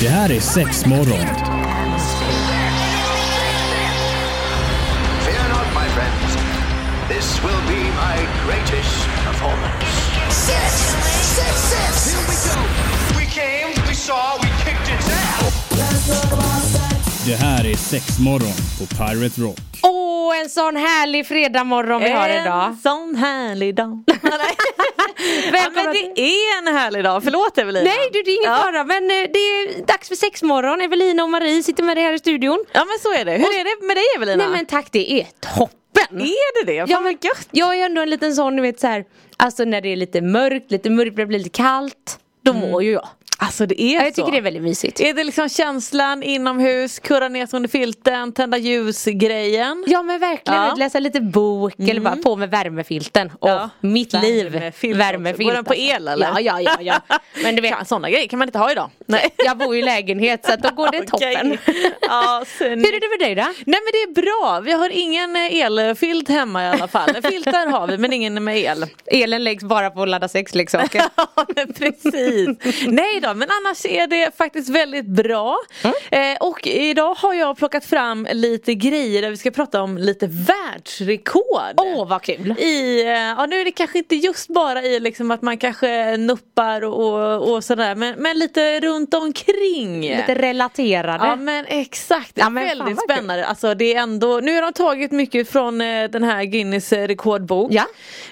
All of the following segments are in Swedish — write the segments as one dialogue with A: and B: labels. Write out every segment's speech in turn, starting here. A: Det här är sex morgon.
B: Fear not, my friends. This will be my greatest performance.
C: Six, six, six. Here we go.
B: We came, we saw, we kicked its ass.
A: Det här är sex morgon på Pirate Rock.
D: Åh, en sån härlig fredagmorgon vi har idag.
E: En sån härlig dag. ja, men
D: Välkomna till-
E: det är en härlig dag, förlåt Evelina.
D: Nej du, det är ingen
E: ja.
D: fara men eh, det är dags för sexmorgon. Evelina och Marie sitter med dig här i studion.
E: Ja men så är det. Hur är det med dig Evelina?
D: Nej men tack, det är toppen!
E: Är det det? Fan
D: Ja,
E: ja,
D: men-
E: men gött.
D: Jag är ändå en liten sån, du vet så här, alltså när det är lite mörkt, lite mörkt, det blir lite kallt. Då mår ju jag.
E: Alltså det Mm. är
D: Ja,
E: så.
D: jag tycker det är väldigt mysigt.
E: Är det liksom känslan inomhus, kurra ner sig under filten, tända ljus-grejen?
D: Ja men verkligen,
E: Ja. Mm.
D: läsa lite bok eller bara på med värmefilten. Och
E: Ja.
D: mitt liv,
E: Värmefilt
D: värmefilt. alltså.
E: också. Går den på el,
D: Ja,
E: eller?
D: ja, ja. ja. Men du vet,
E: Kan- Såna grejer kan man inte ha idag. Nej.
D: jag bor ju i lägenhet så att då går det toppen.
E: Okej. Ja, snyggt.
D: Hur är det med dig då?
E: Nej men det är bra, vi har ingen eh, elfilt hemma i alla fall. Filtar har vi men ingen med el.
D: Elen läggs bara på att ladda liksom. sexleksaker.
E: Ja, men precis. Nej då, men annars är det faktiskt väldigt bra.
D: Mm.
E: Eh, och idag har jag plockat fram lite grejer där vi ska prata om lite världsrekord.
D: Åh vad kul!
E: I, eh, ja nu är det kanske inte just bara i liksom att man kanske nuppar och, och, och sådär men, men lite runt omkring.
D: Lite relaterade.
E: Ja men exakt, det är
D: Ja, men fan
E: väldigt
D: vad kul.
E: spännande. Alltså, det är ändå, nu har de tagit mycket från eh, den här Guinness eh, rekordbok.
D: Ja.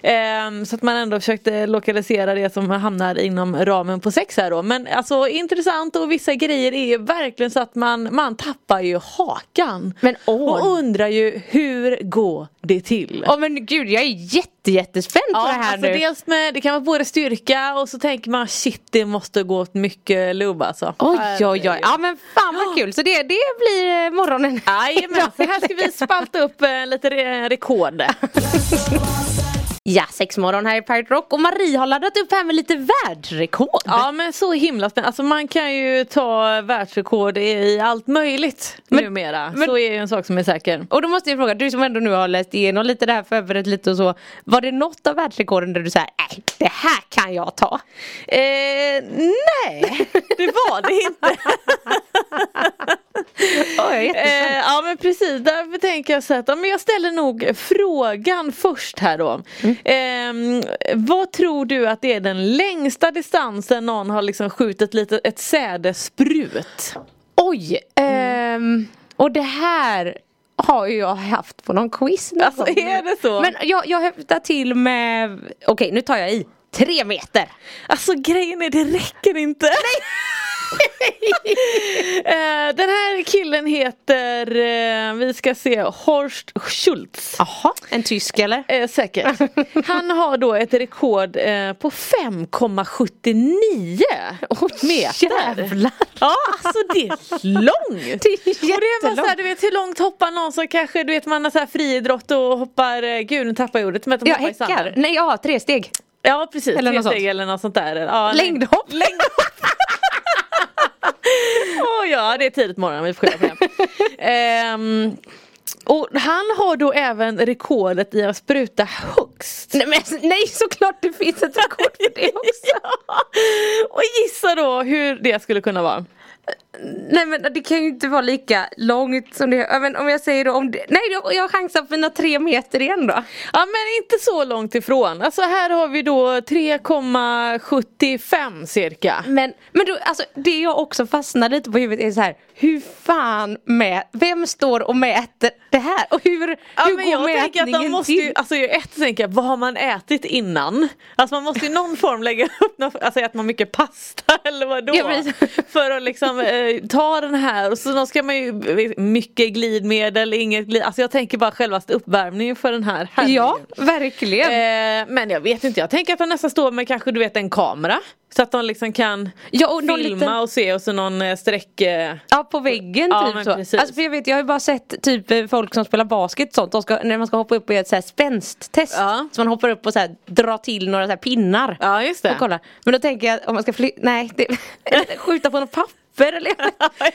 E: Ehm, så att man ändå försökte lokalisera det som hamnar inom ramen på sex här då. Men alltså intressant och vissa grejer är ju verkligen så att man, man tappar ju hakan.
D: Men åh.
E: Och undrar ju hur går det till?
D: Åh men gud jag är jätte, jättespänd på det här
E: alltså
D: nu.
E: dels med, det kan vara både styrka och så tänker man shit det måste gå åt mycket lubb alltså.
D: Oj oj oj, ja men fan vad kul! Så det, det blir eh, morgonen.
E: Jajamän, så här ska vi spalta upp eh, lite re- rekord.
D: Ja, sexmorgon här i Pirate Rock och Marie har laddat upp här med lite världsrekord.
E: Ja men så himla spännande. Alltså man kan ju ta världsrekord i allt möjligt
D: Men-
E: numera.
D: men-
E: så är ju en sak som är säker.
D: Och då måste jag fråga, du som ändå nu har läst igenom lite det här, förberett lite och så. Var det något av världsrekorden där du säger, nej det här kan jag ta?
E: Eh, nej, det var det inte.
D: Åh, jag är
E: Eh,
D: jättespänd.
E: ja men precis, därför tänker jag så att ja, men jag ställer nog frågan först här då. Ehm, vad tror du att det är den längsta distansen någon har liksom skjutit lite, ett sädesprut?
D: Oj! ehm, och det här har ju jag haft på någon quiz någon
E: Alltså,
D: gång.
E: är det så?
D: Men jag, jag höftar till med, okej nu tar jag i, tre meter!
E: Alltså grejen är det räcker inte. Eh, Den här killen heter, eh, vi ska se, Horst Schultz.
D: Jaha, en tysk eller?
E: Eh, säkert. Han har då ett rekord eh, på 5,79 meter.
D: Jävlar!
E: Ja, alltså det är långt!
D: Det är
E: Och det är bara så här,
D: jättelångt.
E: du vet hur långt hoppar någon som kanske, du vet man har så här friidrott och hoppar, eh, gud nu tappar jag ordet, men att de
D: Jag
E: hoppar i
D: häckar,
E: sanden.
D: nej jag har tre steg.
E: Ja precis,
D: Eller
E: eller
D: något
E: något,
D: sånt.
E: eller något sånt där. Ja, nej.
D: Längdhopp!
E: Åh ja, det är tidigt morgon, vi får skylla på det. Ehm, och han har då även rekordet i att spruta högst.
D: nej, men, nej såklart det finns ett rekord för det också!
E: Ja. Och gissa då hur det skulle kunna vara.
D: Nej men det kan ju inte vara lika långt som det ja, men om jag säger då om det, Nej jag, jag chansar på mina tre meter igen då
E: Ja men inte så långt ifrån. Alltså här har vi då 3,75 cirka.
D: Men, men då, alltså, det jag också fastnar lite på huvudet är så här Hur fan med, vem står och mäter det här? Och hur,
E: Ja,
D: hur
E: men jag tänker att de måste ju, alltså jag ett tänker jag, vad har man ätit innan? Alltså man måste i någon form lägga upp, någon, alltså äter man mycket pasta eller vadå?
D: Ja, men-
E: För att liksom eh, ta den här och så då ska man ju, eh, mycket glidmedel, inget glid, alltså jag tänker bara självaste uppvärmningen för den här. Herregud.
D: Ja, verkligen
E: Eh, men jag vet inte, jag tänker att de nästan står med kanske du vet en kamera. Så att de liksom kan
D: ja, och någon
E: filma
D: liten,
E: och se och så någon eh, sträck... Eh,
D: Ja på väggen
E: Ja,
D: typ
E: men
D: så
E: precis.
D: alltså, för jag, vet, jag har ju bara sett typ eh, folk som spelar basket och sånt de ska, När man ska hoppa upp och göra ett så här spänsttest
E: Ja.
D: Så man hoppar upp och så här, drar till några så här pinnar
E: ja just det.
D: och kolla. Men då tänker jag om man ska fly- nej, det- skjuta på något papper eller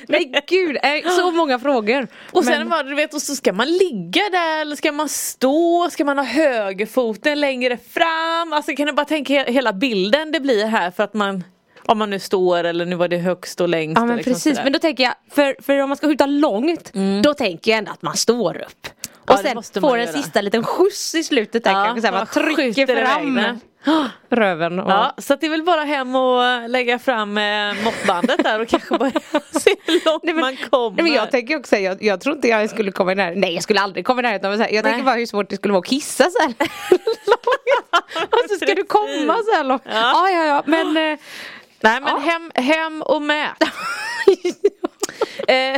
D: Nej gud, nej, så många frågor.
E: Och sen
D: Men-
E: var det, du vet, och så ska man ligga där eller ska man stå? Ska man ha högerfoten längre fram? Alltså kan du bara tänka he- hela bilden det blir här för att man Om man nu står eller nu var det högst och längst.
D: Ja men
E: eller liksom
D: precis,
E: sådär.
D: men då tänker jag, för, för om man ska skjuta långt, då tänker jag ändå att man står upp.
E: Mm. Ja,
D: Och
E: det måste
D: sen
E: man
D: får en
E: göra.
D: sista liten skjuts i slutet där
E: Ja,
D: kanske, så här, man,
E: man
D: trycker
E: skjuter iväg
D: fram
E: den.
D: röven. Och...
E: Ja, så att det är väl bara hem och eh, lägga fram eh, måttbandet där och kanske bara se hur långt
D: Nej, men-
E: man kommer.
D: Nej, men jag tänker också, jag, jag tror inte jag skulle komma i närheten, nej jag skulle aldrig komma i närheten av så här. Jag
E: Nej.
D: tänker bara hur svårt det skulle vara att kissa så här långt. Och så ska du
E: Precis.
D: komma så här långt.
E: Ja.
D: Ja, ja, ja, men eh,
E: Nej men
D: Ja.
E: hem, hem och med. eh,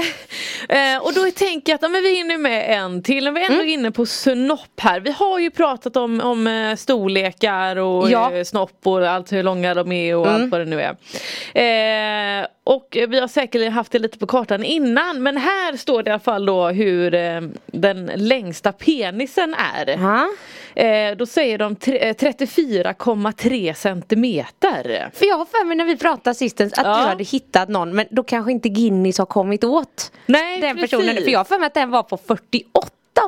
E: eh, och då tänker jag att ja, men vi hinner med en till. När vi ändå är
D: Mm.
E: inne på snopp här. Vi har ju pratat om, om eh, storlekar och
D: Ja. Mm.
E: eh, snopp och allt hur långa de är och allt vad det nu är. Eh, och eh, vi har säkerligen haft det lite på kartan innan men här står det i alla fall då hur eh, den längsta penisen är.
D: ja.
E: Eh, då säger de tre- eh, 34,3 centimeter.
D: För jag har för mig när vi pratade sistens att
E: Ja.
D: du hade hittat någon men då kanske inte Guinness har kommit åt
E: Nej,
D: den
E: precis.
D: personen. För jag har för mig att den var på 48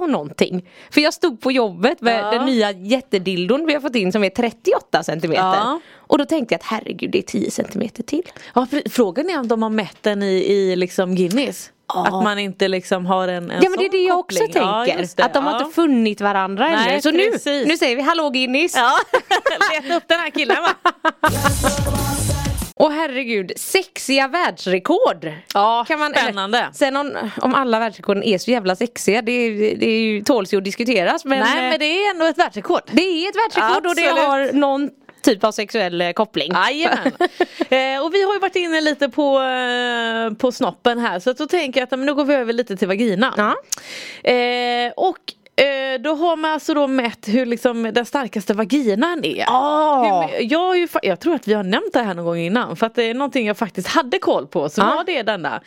D: och någonting. För jag stod på jobbet med
E: Ja.
D: den nya jättedildon vi har fått in som är 38 centimeter.
E: Ja.
D: Och då tänkte jag att herregud det är 10 centimeter till.
E: Ja, fr- frågan är om de har mätt den i, i liksom Guinness. Att man inte liksom har en, en
D: Ja men det är
E: sån
D: det jag också
E: koppling. Ja,
D: tänker.
E: just det.
D: att de har
E: Ja.
D: inte funnit varandra
E: Nej,
D: ännu. Så nu,
E: precis.
D: nu säger vi hallå Guinness.
E: Ja, leta upp den här killen va?
D: Och herregud, sexiga världsrekord!
E: Ja,
D: Kan man,
E: spännande.
D: Eller, sen om, om alla världsrekorden är så jävla sexiga, det, är- det är ju, tåls ju att diskuteras men,
E: Nej men eh,
D: det,
E: det är ändå ett världsrekord.
D: det är ett världsrekord och det
E: Absolut.
D: har någon typ av sexuell eh, koppling.
E: Jajamän. eh, och vi har ju varit inne lite på, eh, på snoppen här så att då tänker jag att ja, men nu går vi över lite till vaginan.
D: Ja.
E: Eh, och eh, då har man alltså då mätt hur liksom den starkaste vaginan är.
D: Ah.
E: Hur- Jag, har ju, fa- jag tror att vi har nämnt det här någon gång innan för att det är någonting jag faktiskt hade koll på så
D: Ja.
E: var det denna.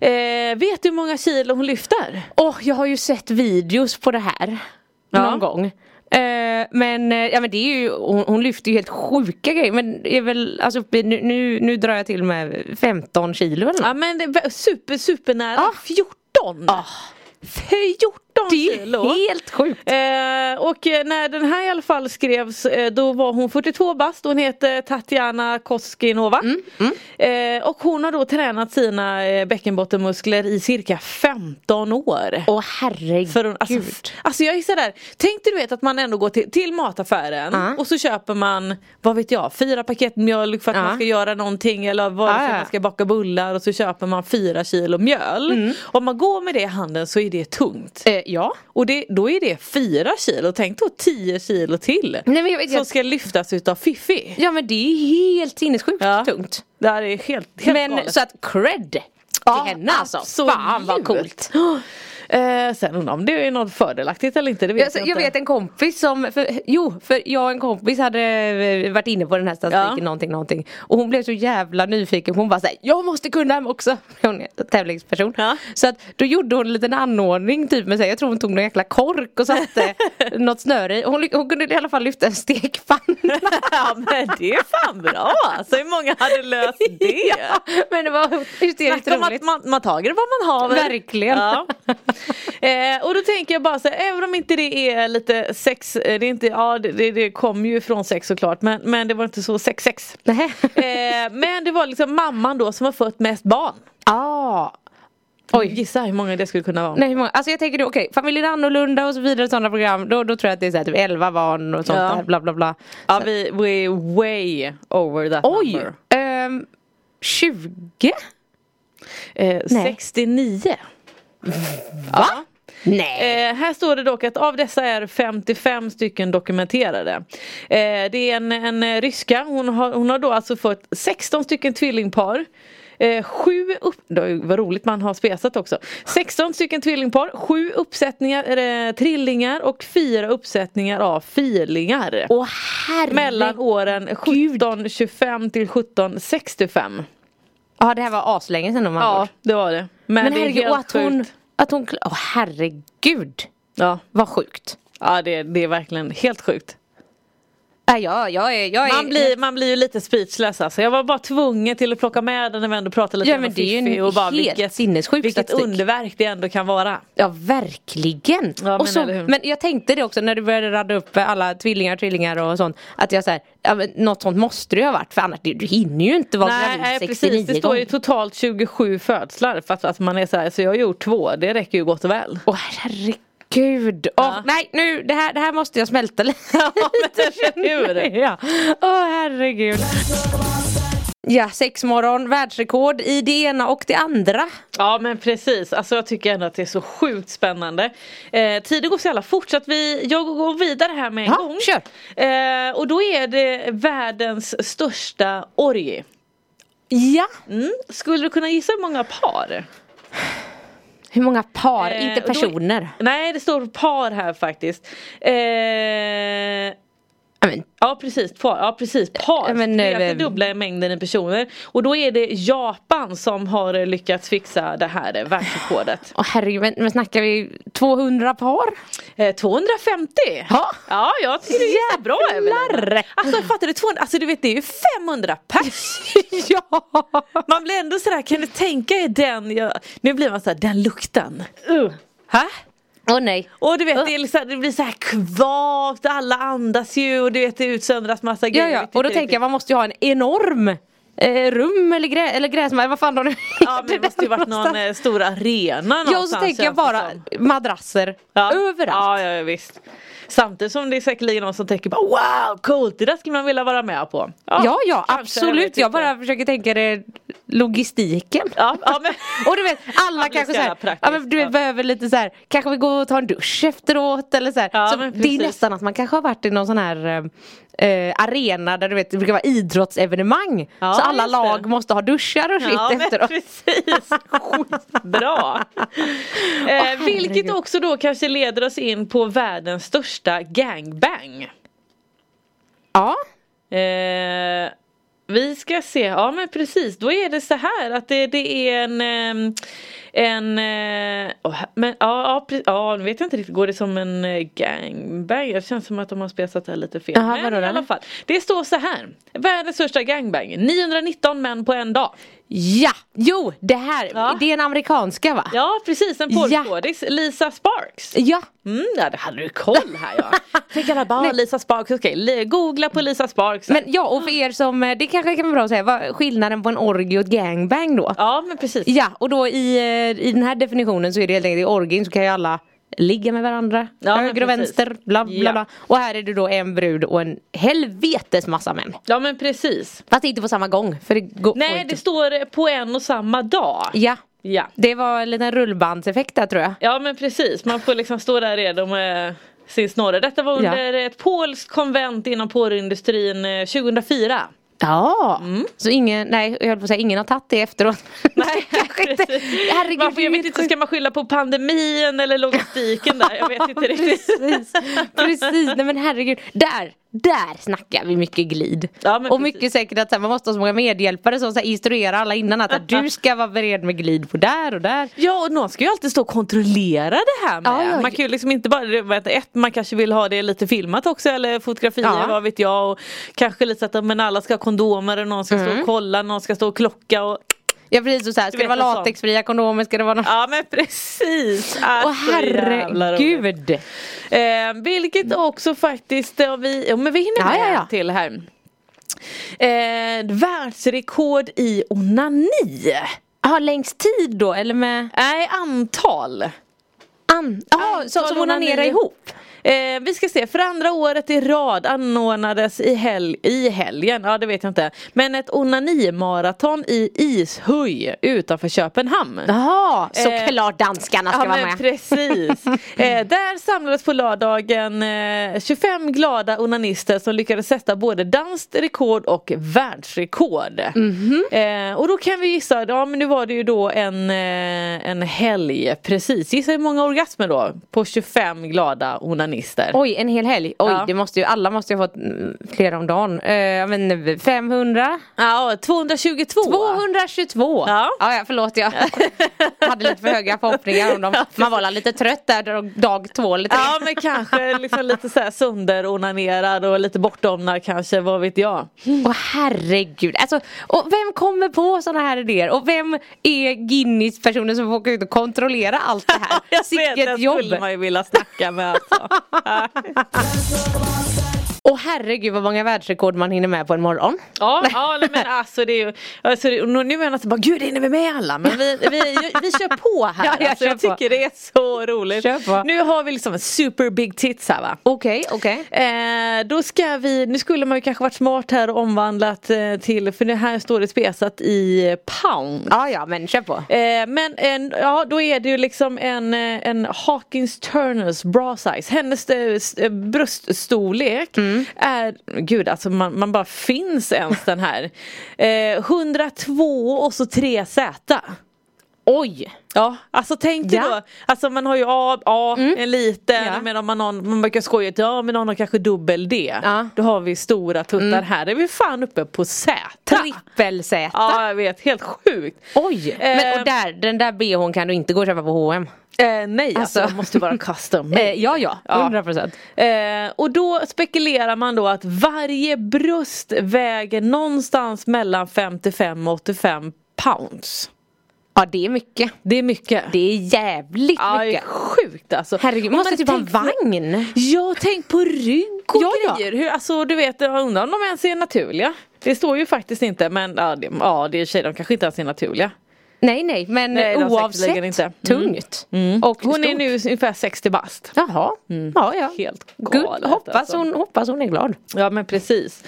E: Eh, vet du hur många kilo hon lyfter?
D: Åh, jag har ju sett videos på det här.
E: Ja.
D: Någon gång. Eh, men, eh, ja, men det är ju, hon, hon lyfter ju helt sjuka grejer men det är väl, alltså, uppe i- nu, nu, nu drar jag till med 15 kilo eller något.
E: Ja men det var super supernära
D: Ah.
E: 14! 14
D: Det är
E: kilo!
D: ju helt sjukt!
E: Eh, och eh, när den här i alla fall skrevs eh, då var hon 42 bast hon heter Tatjana Koskinova.
D: Mm,
E: Eh, och hon har då tränat sina eh, bäckenbottenmuskler i cirka 15 år.
D: Åh herregud!
E: För hon, alltså, f- alltså jag är sådär, tänk dig du vet att man ändå går till, till mataffären
D: Ja.
E: och så köper man, vad vet jag, fyra paket mjölk för att
D: Ja.
E: man ska göra någonting eller vad det är
D: Ja,
E: för
D: ja.
E: att man ska baka bullar och så köper man fyra kilo mjöl.
D: Mm.
E: Om man går med det i handen så är det tungt.
D: Eh, ja.
E: Och det, då är det fyra kilo, tänk då 10 kilo till.
D: Nej, men jag vet,
E: som
D: jag,
E: ska lyftas utav Fifi.
D: ja men det är helt sinnessjukt
E: Ja.
D: tungt.
E: Det här är helt, helt
D: Men
E: galet.
D: så att cred till henne alltså.
E: absolut.
D: Fan vad coolt.
E: Eh, sen undrar om det är något fördelaktigt eller inte, det vet
D: Jag,
E: jag,
D: Alltså, jag
E: inte.
D: vet en kompis som, för, jo för jag och en kompis hade eh, varit inne på den här statistiken
E: Ja.
D: någonting någonting och hon blev så jävla nyfiken hon bara såhär jag måste kunna dem också. Hon är en tävlingsperson.
E: Ja.
D: Så att då gjorde hon en liten anordning typ med sig. jag tror hon tog någon jäkla kork och satte något snöre i. Hon, ly- hon kunde i alla fall lyfta en stekpanna.
E: ja men det är fan bra alltså, hur många hade löst det?
D: ja, men det var hysteriskt
E: Snacka om
D: roligt.
E: att man, man tager vad man har.
D: Verkligen.
E: Ja. Eh, och då tänker jag bara så här, även om inte det är lite sex, eh, det, är inte, ja, det- det, det kom ju från sex såklart men, men det var inte så sex sex.
D: Nej.
E: Eh, men det var liksom mamman då som har fött mest barn.
D: Ah. Oj.
E: Gissa hur många det skulle kunna vara.
D: Nej, hur många? Alltså jag tänker då, okej, familjen annorlunda och så vidare sådana program. Då, då tror jag att det är så här, typ 11 barn och sånt
E: Ja.
D: där, bla bla bla.
E: Ja, vi, we är way over that
D: Oj!
E: number.
D: ehm, 20?
E: Eh,
D: Nej.
E: 69.
D: Va? Nej.
E: Eh, här står det dock att av dessa är 55 stycken dokumenterade. Eh, det är en, en eh, ryska, hon har, hon har då alltså fått 16 stycken tvillingpar. Eh, sju upp, då, vad roligt man har spesat också. 16 stycken tvillingpar, sju uppsättningar eh, trillingar och fyra uppsättningar av fyrlingar.
D: Åh herregud.
E: Mellan åren 1725 till 1765.
D: Ja det här var aslänge sedan om
E: Ja
D: ja,
E: det var det. Men,
D: Men
E: det är
D: herregud, och
E: helt
D: att hon,
E: sjukt.
D: att hon, kl- åh herregud
E: Ja,
D: vad sjukt.
E: ja det, det är verkligen helt sjukt.
D: Nej, jag, jag är... Jag är
E: Man blir, man blir ju lite speechless alltså. Jag var bara tvungen till att plocka med den när vi ändå pratade lite
D: Ja,
E: om
D: men det är ju
E: Fifi
D: en
E: och bara
D: helt sinnessjuk
E: vilket
D: statistik.
E: underverk det ändå kan vara.
D: Ja, verkligen.
E: Ja, men
D: och så,
E: eller hur?
D: men jag tänkte det också när du började radda upp alla tvillingar, trillingar och sånt. Att jag såhär, ja, men något sånt måste det ju ha varit för annars du, du hinner ju inte vara
E: Nej,
D: gravid
E: nej
D: 69
E: precis, det står ju
D: gånger.
E: totalt 27 födslar för att, att man är så här, så jag har gjort två, det räcker ju gott och väl.
D: Åh herregud. Åh,
E: Ja.
D: nej, nu, det här, det här måste jag smälta lite.
E: Ja, men eller hur?
D: ja. Åh herregud. Ja, sexmorgon, världsrekord i det ena och det andra.
E: Ja men precis, alltså jag tycker ändå att det är så sjukt spännande. Eh, tiden går så jävla fort så att vi, jag går vidare här med en
D: Ja,
E: gång.
D: kör.
E: Eh, och då är det världens största orgie.
D: Ja.
E: Mm. Skulle du kunna gissa hur många par?
D: Hur många par,
E: Eh,
D: inte
E: och då-
D: personer.
E: Nej det står par här faktiskt. Eh,
D: Ja, men,
E: Ja precis, par. Ja, precis, par.
D: Ja, men,
E: det är
D: eh,
E: att det dubbla i mängden i personer. Och då är det Japan som har eh, lyckats fixa det här eh, världsrekordet.
D: åh, herregud, men, men snackar vi 200 par?
E: Eh, 250!
D: Ja.
E: ja jag tycker det är bra Evelina.
D: Jävlar.
E: Alltså fattar du, 200, alltså du vet det är ju 500 pers!
D: ja!
E: Man blir ändå sådär, kan du tänka er den, jag, nu blir man såhär, den lukten.
D: Uh.
E: Ha?
D: Åh nej.
E: Och du vet det, är liksom, det blir så här kvavt, alla andas ju och du vet det utsöndras massa
D: Ja,
E: grejer. Typ,
D: ja. Och då tänker jag man måste ju ha en enorm eh, rum eller, grä, eller gräsmatta, vad fan då nu
E: Ja men det måste ju varit någon eh, stor arena någonstans.
D: Ja och så tänker jag
E: känns det
D: bara
E: som.
D: madrasser
E: Ja.
D: överallt.
E: Ja, ja, ja visst. Samtidigt som det är säkerligen någon som tänker bara wow coolt, det där skulle man vilja vara med på.
D: Ja ja,
E: kanske, jag
D: absolut.
E: vet
D: Jag
E: inte.
D: bara försöker tänka det logistiken.
E: Ja, ja, men...
D: Och du vet alla
E: Ja, det
D: kanske
E: ska
D: såhär,
E: vara praktiskt,
D: ja, men du vet,
E: ja.
D: behöver lite såhär, kanske vi går och tar en dusch efteråt eller såhär.
E: Ja,
D: så
E: men
D: det är ju
E: precis.
D: nästan att man kanske har varit i någon sån här eh, eh, arena där du vet det brukar vara idrottsevenemang.
E: Ja,
D: så alla
E: just
D: lag
E: det.
D: måste ha duschar och shit
E: Ja men
D: efteråt.
E: precis, skitbra! eh, vilket
D: herregud.
E: också då kanske leder oss in på världens största gangbang.
D: Ja.
E: Eh, vi ska se, ja men precis då är det så här att det, det är en ehm, en, eh, åh, men ja, ja, pre- ja, nu vet jag inte riktigt, går det som en eh, gangbang? Det känns som att de har spesat det här lite fel.
D: Jaha, vadå
E: men i
D: då?
E: alla fall, det står så här. Världens största gangbang, 919 män på en dag.
D: Ja, jo det här,
E: Ja.
D: det är en amerikanska va?
E: Ja precis, en
D: Ja.
E: porrskådis, Lisa Sparks.
D: Ja.
E: Mm, ja, det hade du koll här ja. Tänk alla bara,
D: Nej.
E: Lisa Sparks, okej, li- googla på Lisa Sparks.
D: Men ja, och för er som, eh, det kanske kan vara bra att säga, vad är skillnaden på en orgie och ett gangbang då?
E: ja men precis.
D: Ja, och då i, eh, i den här definitionen så är det helt enkelt i orgin så kan ju alla ligga med varandra,
E: Ja, men
D: höger och
E: precis.
D: vänster, bla bla
E: Ja.
D: bla. Och här är det då en brud och en helvetes massa män.
E: Ja men precis.
D: Fast inte på samma gång, för det går får
E: Nej,
D: inte.
E: det står på en och samma dag.
D: Ja,
E: Ja,
D: det var en liten rullbandseffekt där tror jag.
E: ja men precis. Man får liksom stå där redo med sin snorre. Detta var
D: Ja.
E: under ett polskt konvent inom porrindustrin eh, 2004.
D: Ja,
E: Mm.
D: så ingen, nej jag höll på att säga ingen har tagit det efteråt. Det kanske inte-
E: precis.
D: Herregud,
E: man får, jag
D: det är
E: vet
D: helt
E: inte, ska man skylla på pandemin eller logistiken där? Jag vet inte riktigt.
D: Precis, precis. Nej men herregud. Där, där snackar vi mycket glid.
E: Ja, men
D: och
E: precis.
D: mycket säkert att så här, man måste ha så många medhjälpare som så här, instruerar alla innan att, att du ska vara beredd med glid på där och där.
E: Ja och någon ska ju alltid stå och kontrollera det här med.
D: Ja, ja.
E: Man kan ju liksom inte bara, vänta, ett man kanske vill ha det lite filmat också eller fotografier
D: Ja.
E: vad vet jag. Och kanske lite så att men alla ska ha kondomer och någon ska stå
D: Mm.
E: och kolla, någon ska stå och klocka och
D: Ja precis, och så här, ska
E: vet
D: det vara
E: en sån.
D: latexfria kondomer, ska det vara någon...
E: Ja men precis!
D: Åh
E: Alltså, jävla roligt.
D: herregud!
E: Eh, vilket också faktiskt, eh, vi, ja, men vi hinner
D: Ja,
E: med
D: ja, ja.
E: en till här. Eh, världsrekord i onani.
D: Ja, längst tid då eller med
E: Nej, antal.
D: an... Ja, så som onanerar
E: onani.
D: ihop?
E: Eh, vi ska se, för andra året i rad anordnades i, hel- i helgen, ja det vet jag inte, men ett onanimaraton i Ishöj utanför Köpenhamn.
D: Jaha,
E: Eh,
D: såklart danskarna ska
E: ja,
D: vara
E: men
D: med.
E: Precis. eh, där samlades på lördagen eh, 25 glada onanister som lyckades sätta både danskt rekord och världsrekord.
D: Mhm.
E: eh, och då kan vi gissa, ja men nu var det ju då en, eh, en helg precis. Gissa hur många orgasmer då på 25 glada feminister.
D: Oj, en hel helg. Oj,
E: Ja.
D: det måste ju, alla måste ju ha fått mm, flera om dagen. Eh, jag vet inte, 500?
E: Ja, 222.
D: 222!
E: Ja.
D: ja, ja, förlåt jag hade lite för höga förhoppningar om dem. Man var lite trött där dag- dag två eller tre.
E: Ja men kanske liksom lite så här sönderonanerad och lite bortomnad kanske, vad vet jag.
D: Åh herregud. Alltså, och vem kommer på sådana här idéer? Och vem är Guinness-personen som får åka ut och kontrollera allt det här?
E: Jag
D: Sicket
E: vet, den
D: jobb.
E: skulle man ju vilja snacka med alltså. Ja.
D: Och herregud vad många världsrekord man hinner med på en morgon.
E: Ja, ja nej, men alltså det är ju, alltså, det, och nu nu menar jag inte bara gud hinner vi med alla men vi, vi, vi kör på här.
D: Ja, jag
E: alltså,
D: kör
E: jag
D: på.
E: tycker det är så roligt.
D: Kör på.
E: Nu har vi liksom en super big tits här va.
D: Okej, okej.
E: Eh, då ska vi, nu skulle man ju kanske varit smart här och omvandlat eh, till, för det här står det spesat i pound.
D: Ja, ja, men kör på.
E: Eh, men en, ja, då är det ju liksom en, eh, en Hawkins Turners bra size. Hennes eh, s- eh, bröststorlek
D: Mm.
E: är, gud alltså man, man bara finns ens den här. Eh, 102 och så 3 Z.
D: Oj!
E: Ja, alltså tänk dig
D: Ja. Mm.
E: då, alltså man har ju A, A en liten,
D: Ja.
E: men om man, har, man brukar skoja att ja men någon har kanske dubbel D.
D: Ja. Mm.
E: Då har vi stora tuttar, här är vi fan uppe på Z.
D: Trippel-Z.
E: Ja jag vet, helt sjukt.
D: Oj! Ehm. Men,
E: Eh,
D: och där, den där bhn kan du inte gå och köpa på H&M.
E: Eh, nej alltså,
D: Alltså.
E: det måste vara custom.
D: Eh, ja, ja.
E: Ja.
D: 100 procent.
E: Eh, och då spekulerar man då att varje bröst väger någonstans mellan 55 och 85 pounds.
D: Ja, det är mycket.
E: Det är mycket.
D: Det är jävligt
E: Ja, det är
D: mycket.
E: sjukt alltså.
D: Herregud,
E: Och
D: måste
E: man
D: typ ha en
E: tänker på-
D: vagn.
E: Ja, tänk på rygg och
D: Ja, ja.
E: grejer. Hur, alltså du vet, jag undrar om de ens är naturliga. Det står ju faktiskt inte men ja, det, ja, det är tjejer, de kanske inte ens är naturliga.
D: Nej, nej, men
E: Nej, de har
D: oavsett
E: säkerligen
D: Mm.
E: inte.
D: tungt. Och
E: Hon är
D: stort.
E: nu ungefär 60 bast.
D: Jaha, ja ja.
E: Helt
D: Good.
E: galet
D: Hoppas,
E: alltså.
D: hon, hoppas hon är glad.
E: Ja men precis.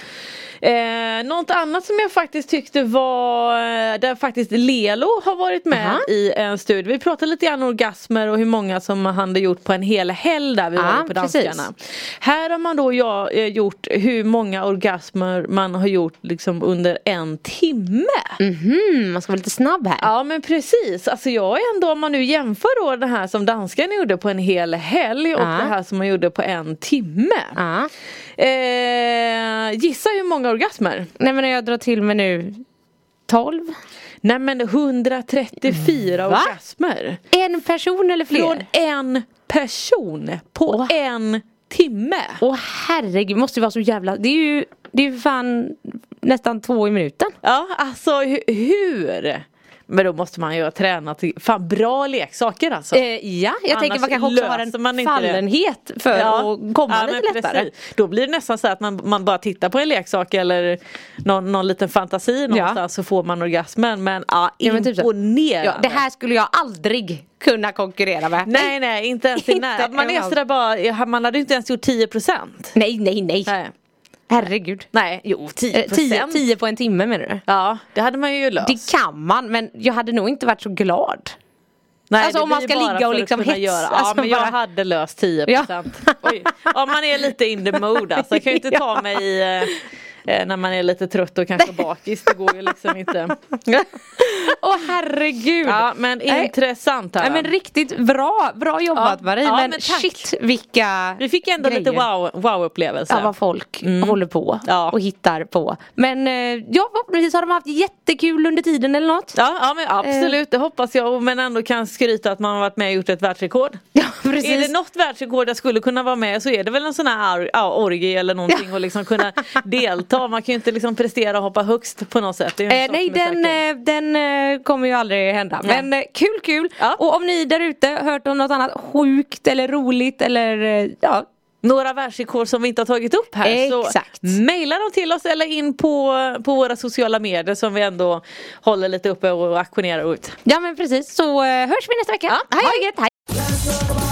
E: Eh, något annat som jag faktiskt tyckte var eh, där faktiskt Lelo har varit med
D: Aha.
E: i en studie. Vi pratade lite grann om orgasmer och hur många som han hade gjort på en hel helg där vi
D: Ja,
E: var på
D: precis.
E: danskarna. Här har man då ja, eh, gjort hur många orgasmer man har gjort liksom under en timme.
D: Mm, man ska vara lite snabb här.
E: Ja men precis, alltså jag är ändå om man nu jämför då det här som danskarna gjorde på en hel helg och
D: Ja.
E: det här som man gjorde på en timme.
D: Ja.
E: Eh, gissa hur många orgasmer?
D: Nej men jag drar till med nu 12.
E: Nej men 134
D: Va?
E: orgasmer.
D: En person eller fler?
E: Från en person på
D: Åh.
E: en timme.
D: Åh herregud, måste ju vara så jävla... Det är ju, det är ju fan nästan två i minuten.
E: Ja alltså hu- hur? Men då måste man ju ha tränat. i- Fan bra leksaker alltså.
D: Eh, ja, jag tänker man kanske också har
E: löser man
D: en
E: inte det.
D: fallenhet för att komma
E: Ja,
D: lite
E: men
D: lättare.
E: precis. Då blir det nästan så att man, man bara tittar på en leksak eller någon, någon liten fantasi någonstans så får man orgasmen. Men ja,
D: Ja, men typ så.
E: imponerande.
D: Ja, det här skulle jag aldrig kunna konkurrera med.
E: Nej nej inte ens i
D: Inte
E: närheten. Man är
D: överallt.
E: sådär bara, man hade ju inte ens gjort 10%.
D: nej, nej, nej.
E: Nej.
D: Herregud.
E: Nej, jo 10
D: Eh, tio, tio på en timme menar du?
E: Ja, det hade man ju löst.
D: Det kan man, men jag hade nog inte varit så glad.
E: Nej,
D: alltså,
E: det
D: om man
E: blir
D: ska
E: bara
D: ligga och
E: för att
D: liksom
E: kunna
D: hetsa,
E: Göra. Ja,
D: alltså
E: men jag
D: bara-
E: hade löst 10 procent.
D: Ja.
E: Om man är lite in the mode alltså. Jag kan ju inte ta mig i, eh, eh, när man är lite trött och kanske bakis. Det går ju liksom inte.
D: Åh herregud!
E: Ja, men
D: Nej.
E: intressant. Här,
D: Nej, men riktigt bra, bra jobbat
E: Ja.
D: Marie.
E: Ja,
D: men
E: men tack.
D: shit vilka
E: Vi fick ändå lite
D: grejer.
E: wow- wow-upplevelse.
D: Ja, vad folk håller på
E: Typ. Mm. Ja.
D: och hittar på. Men eh, ja, förhoppningsvis har de haft jättekul under tiden eller något.
E: Ja, ja
D: Eh.
E: men absolut det hoppas jag men ändå kan skryta att man har varit med och gjort ett världsrekord.
D: Ja, precis.
E: Är det något världsrekord jag skulle kunna vara med så är det väl en sån här ar- ja, orgie eller någonting och liksom kunna delta. Man kan ju inte liksom prestera och hoppa högst på något sätt. Det är ju en
D: Eh,
E: sak
D: nej
E: som
D: den,
E: är säker.
D: eh, den eh, kommer ju aldrig hända.
E: Nej.
D: Men eh, kul kul!
E: Ja.
D: Och om ni där ute hört om något annat sjukt eller roligt eller eh, ja,
E: Några världsrekord som vi inte har tagit upp här
D: Exakt.
E: så mejla dem till oss eller in på, på våra sociala medier som vi ändå håller lite uppe och auktionerar ut.
D: ja men precis så eh, hörs vi nästa vecka. Hej, ha det gött, hej!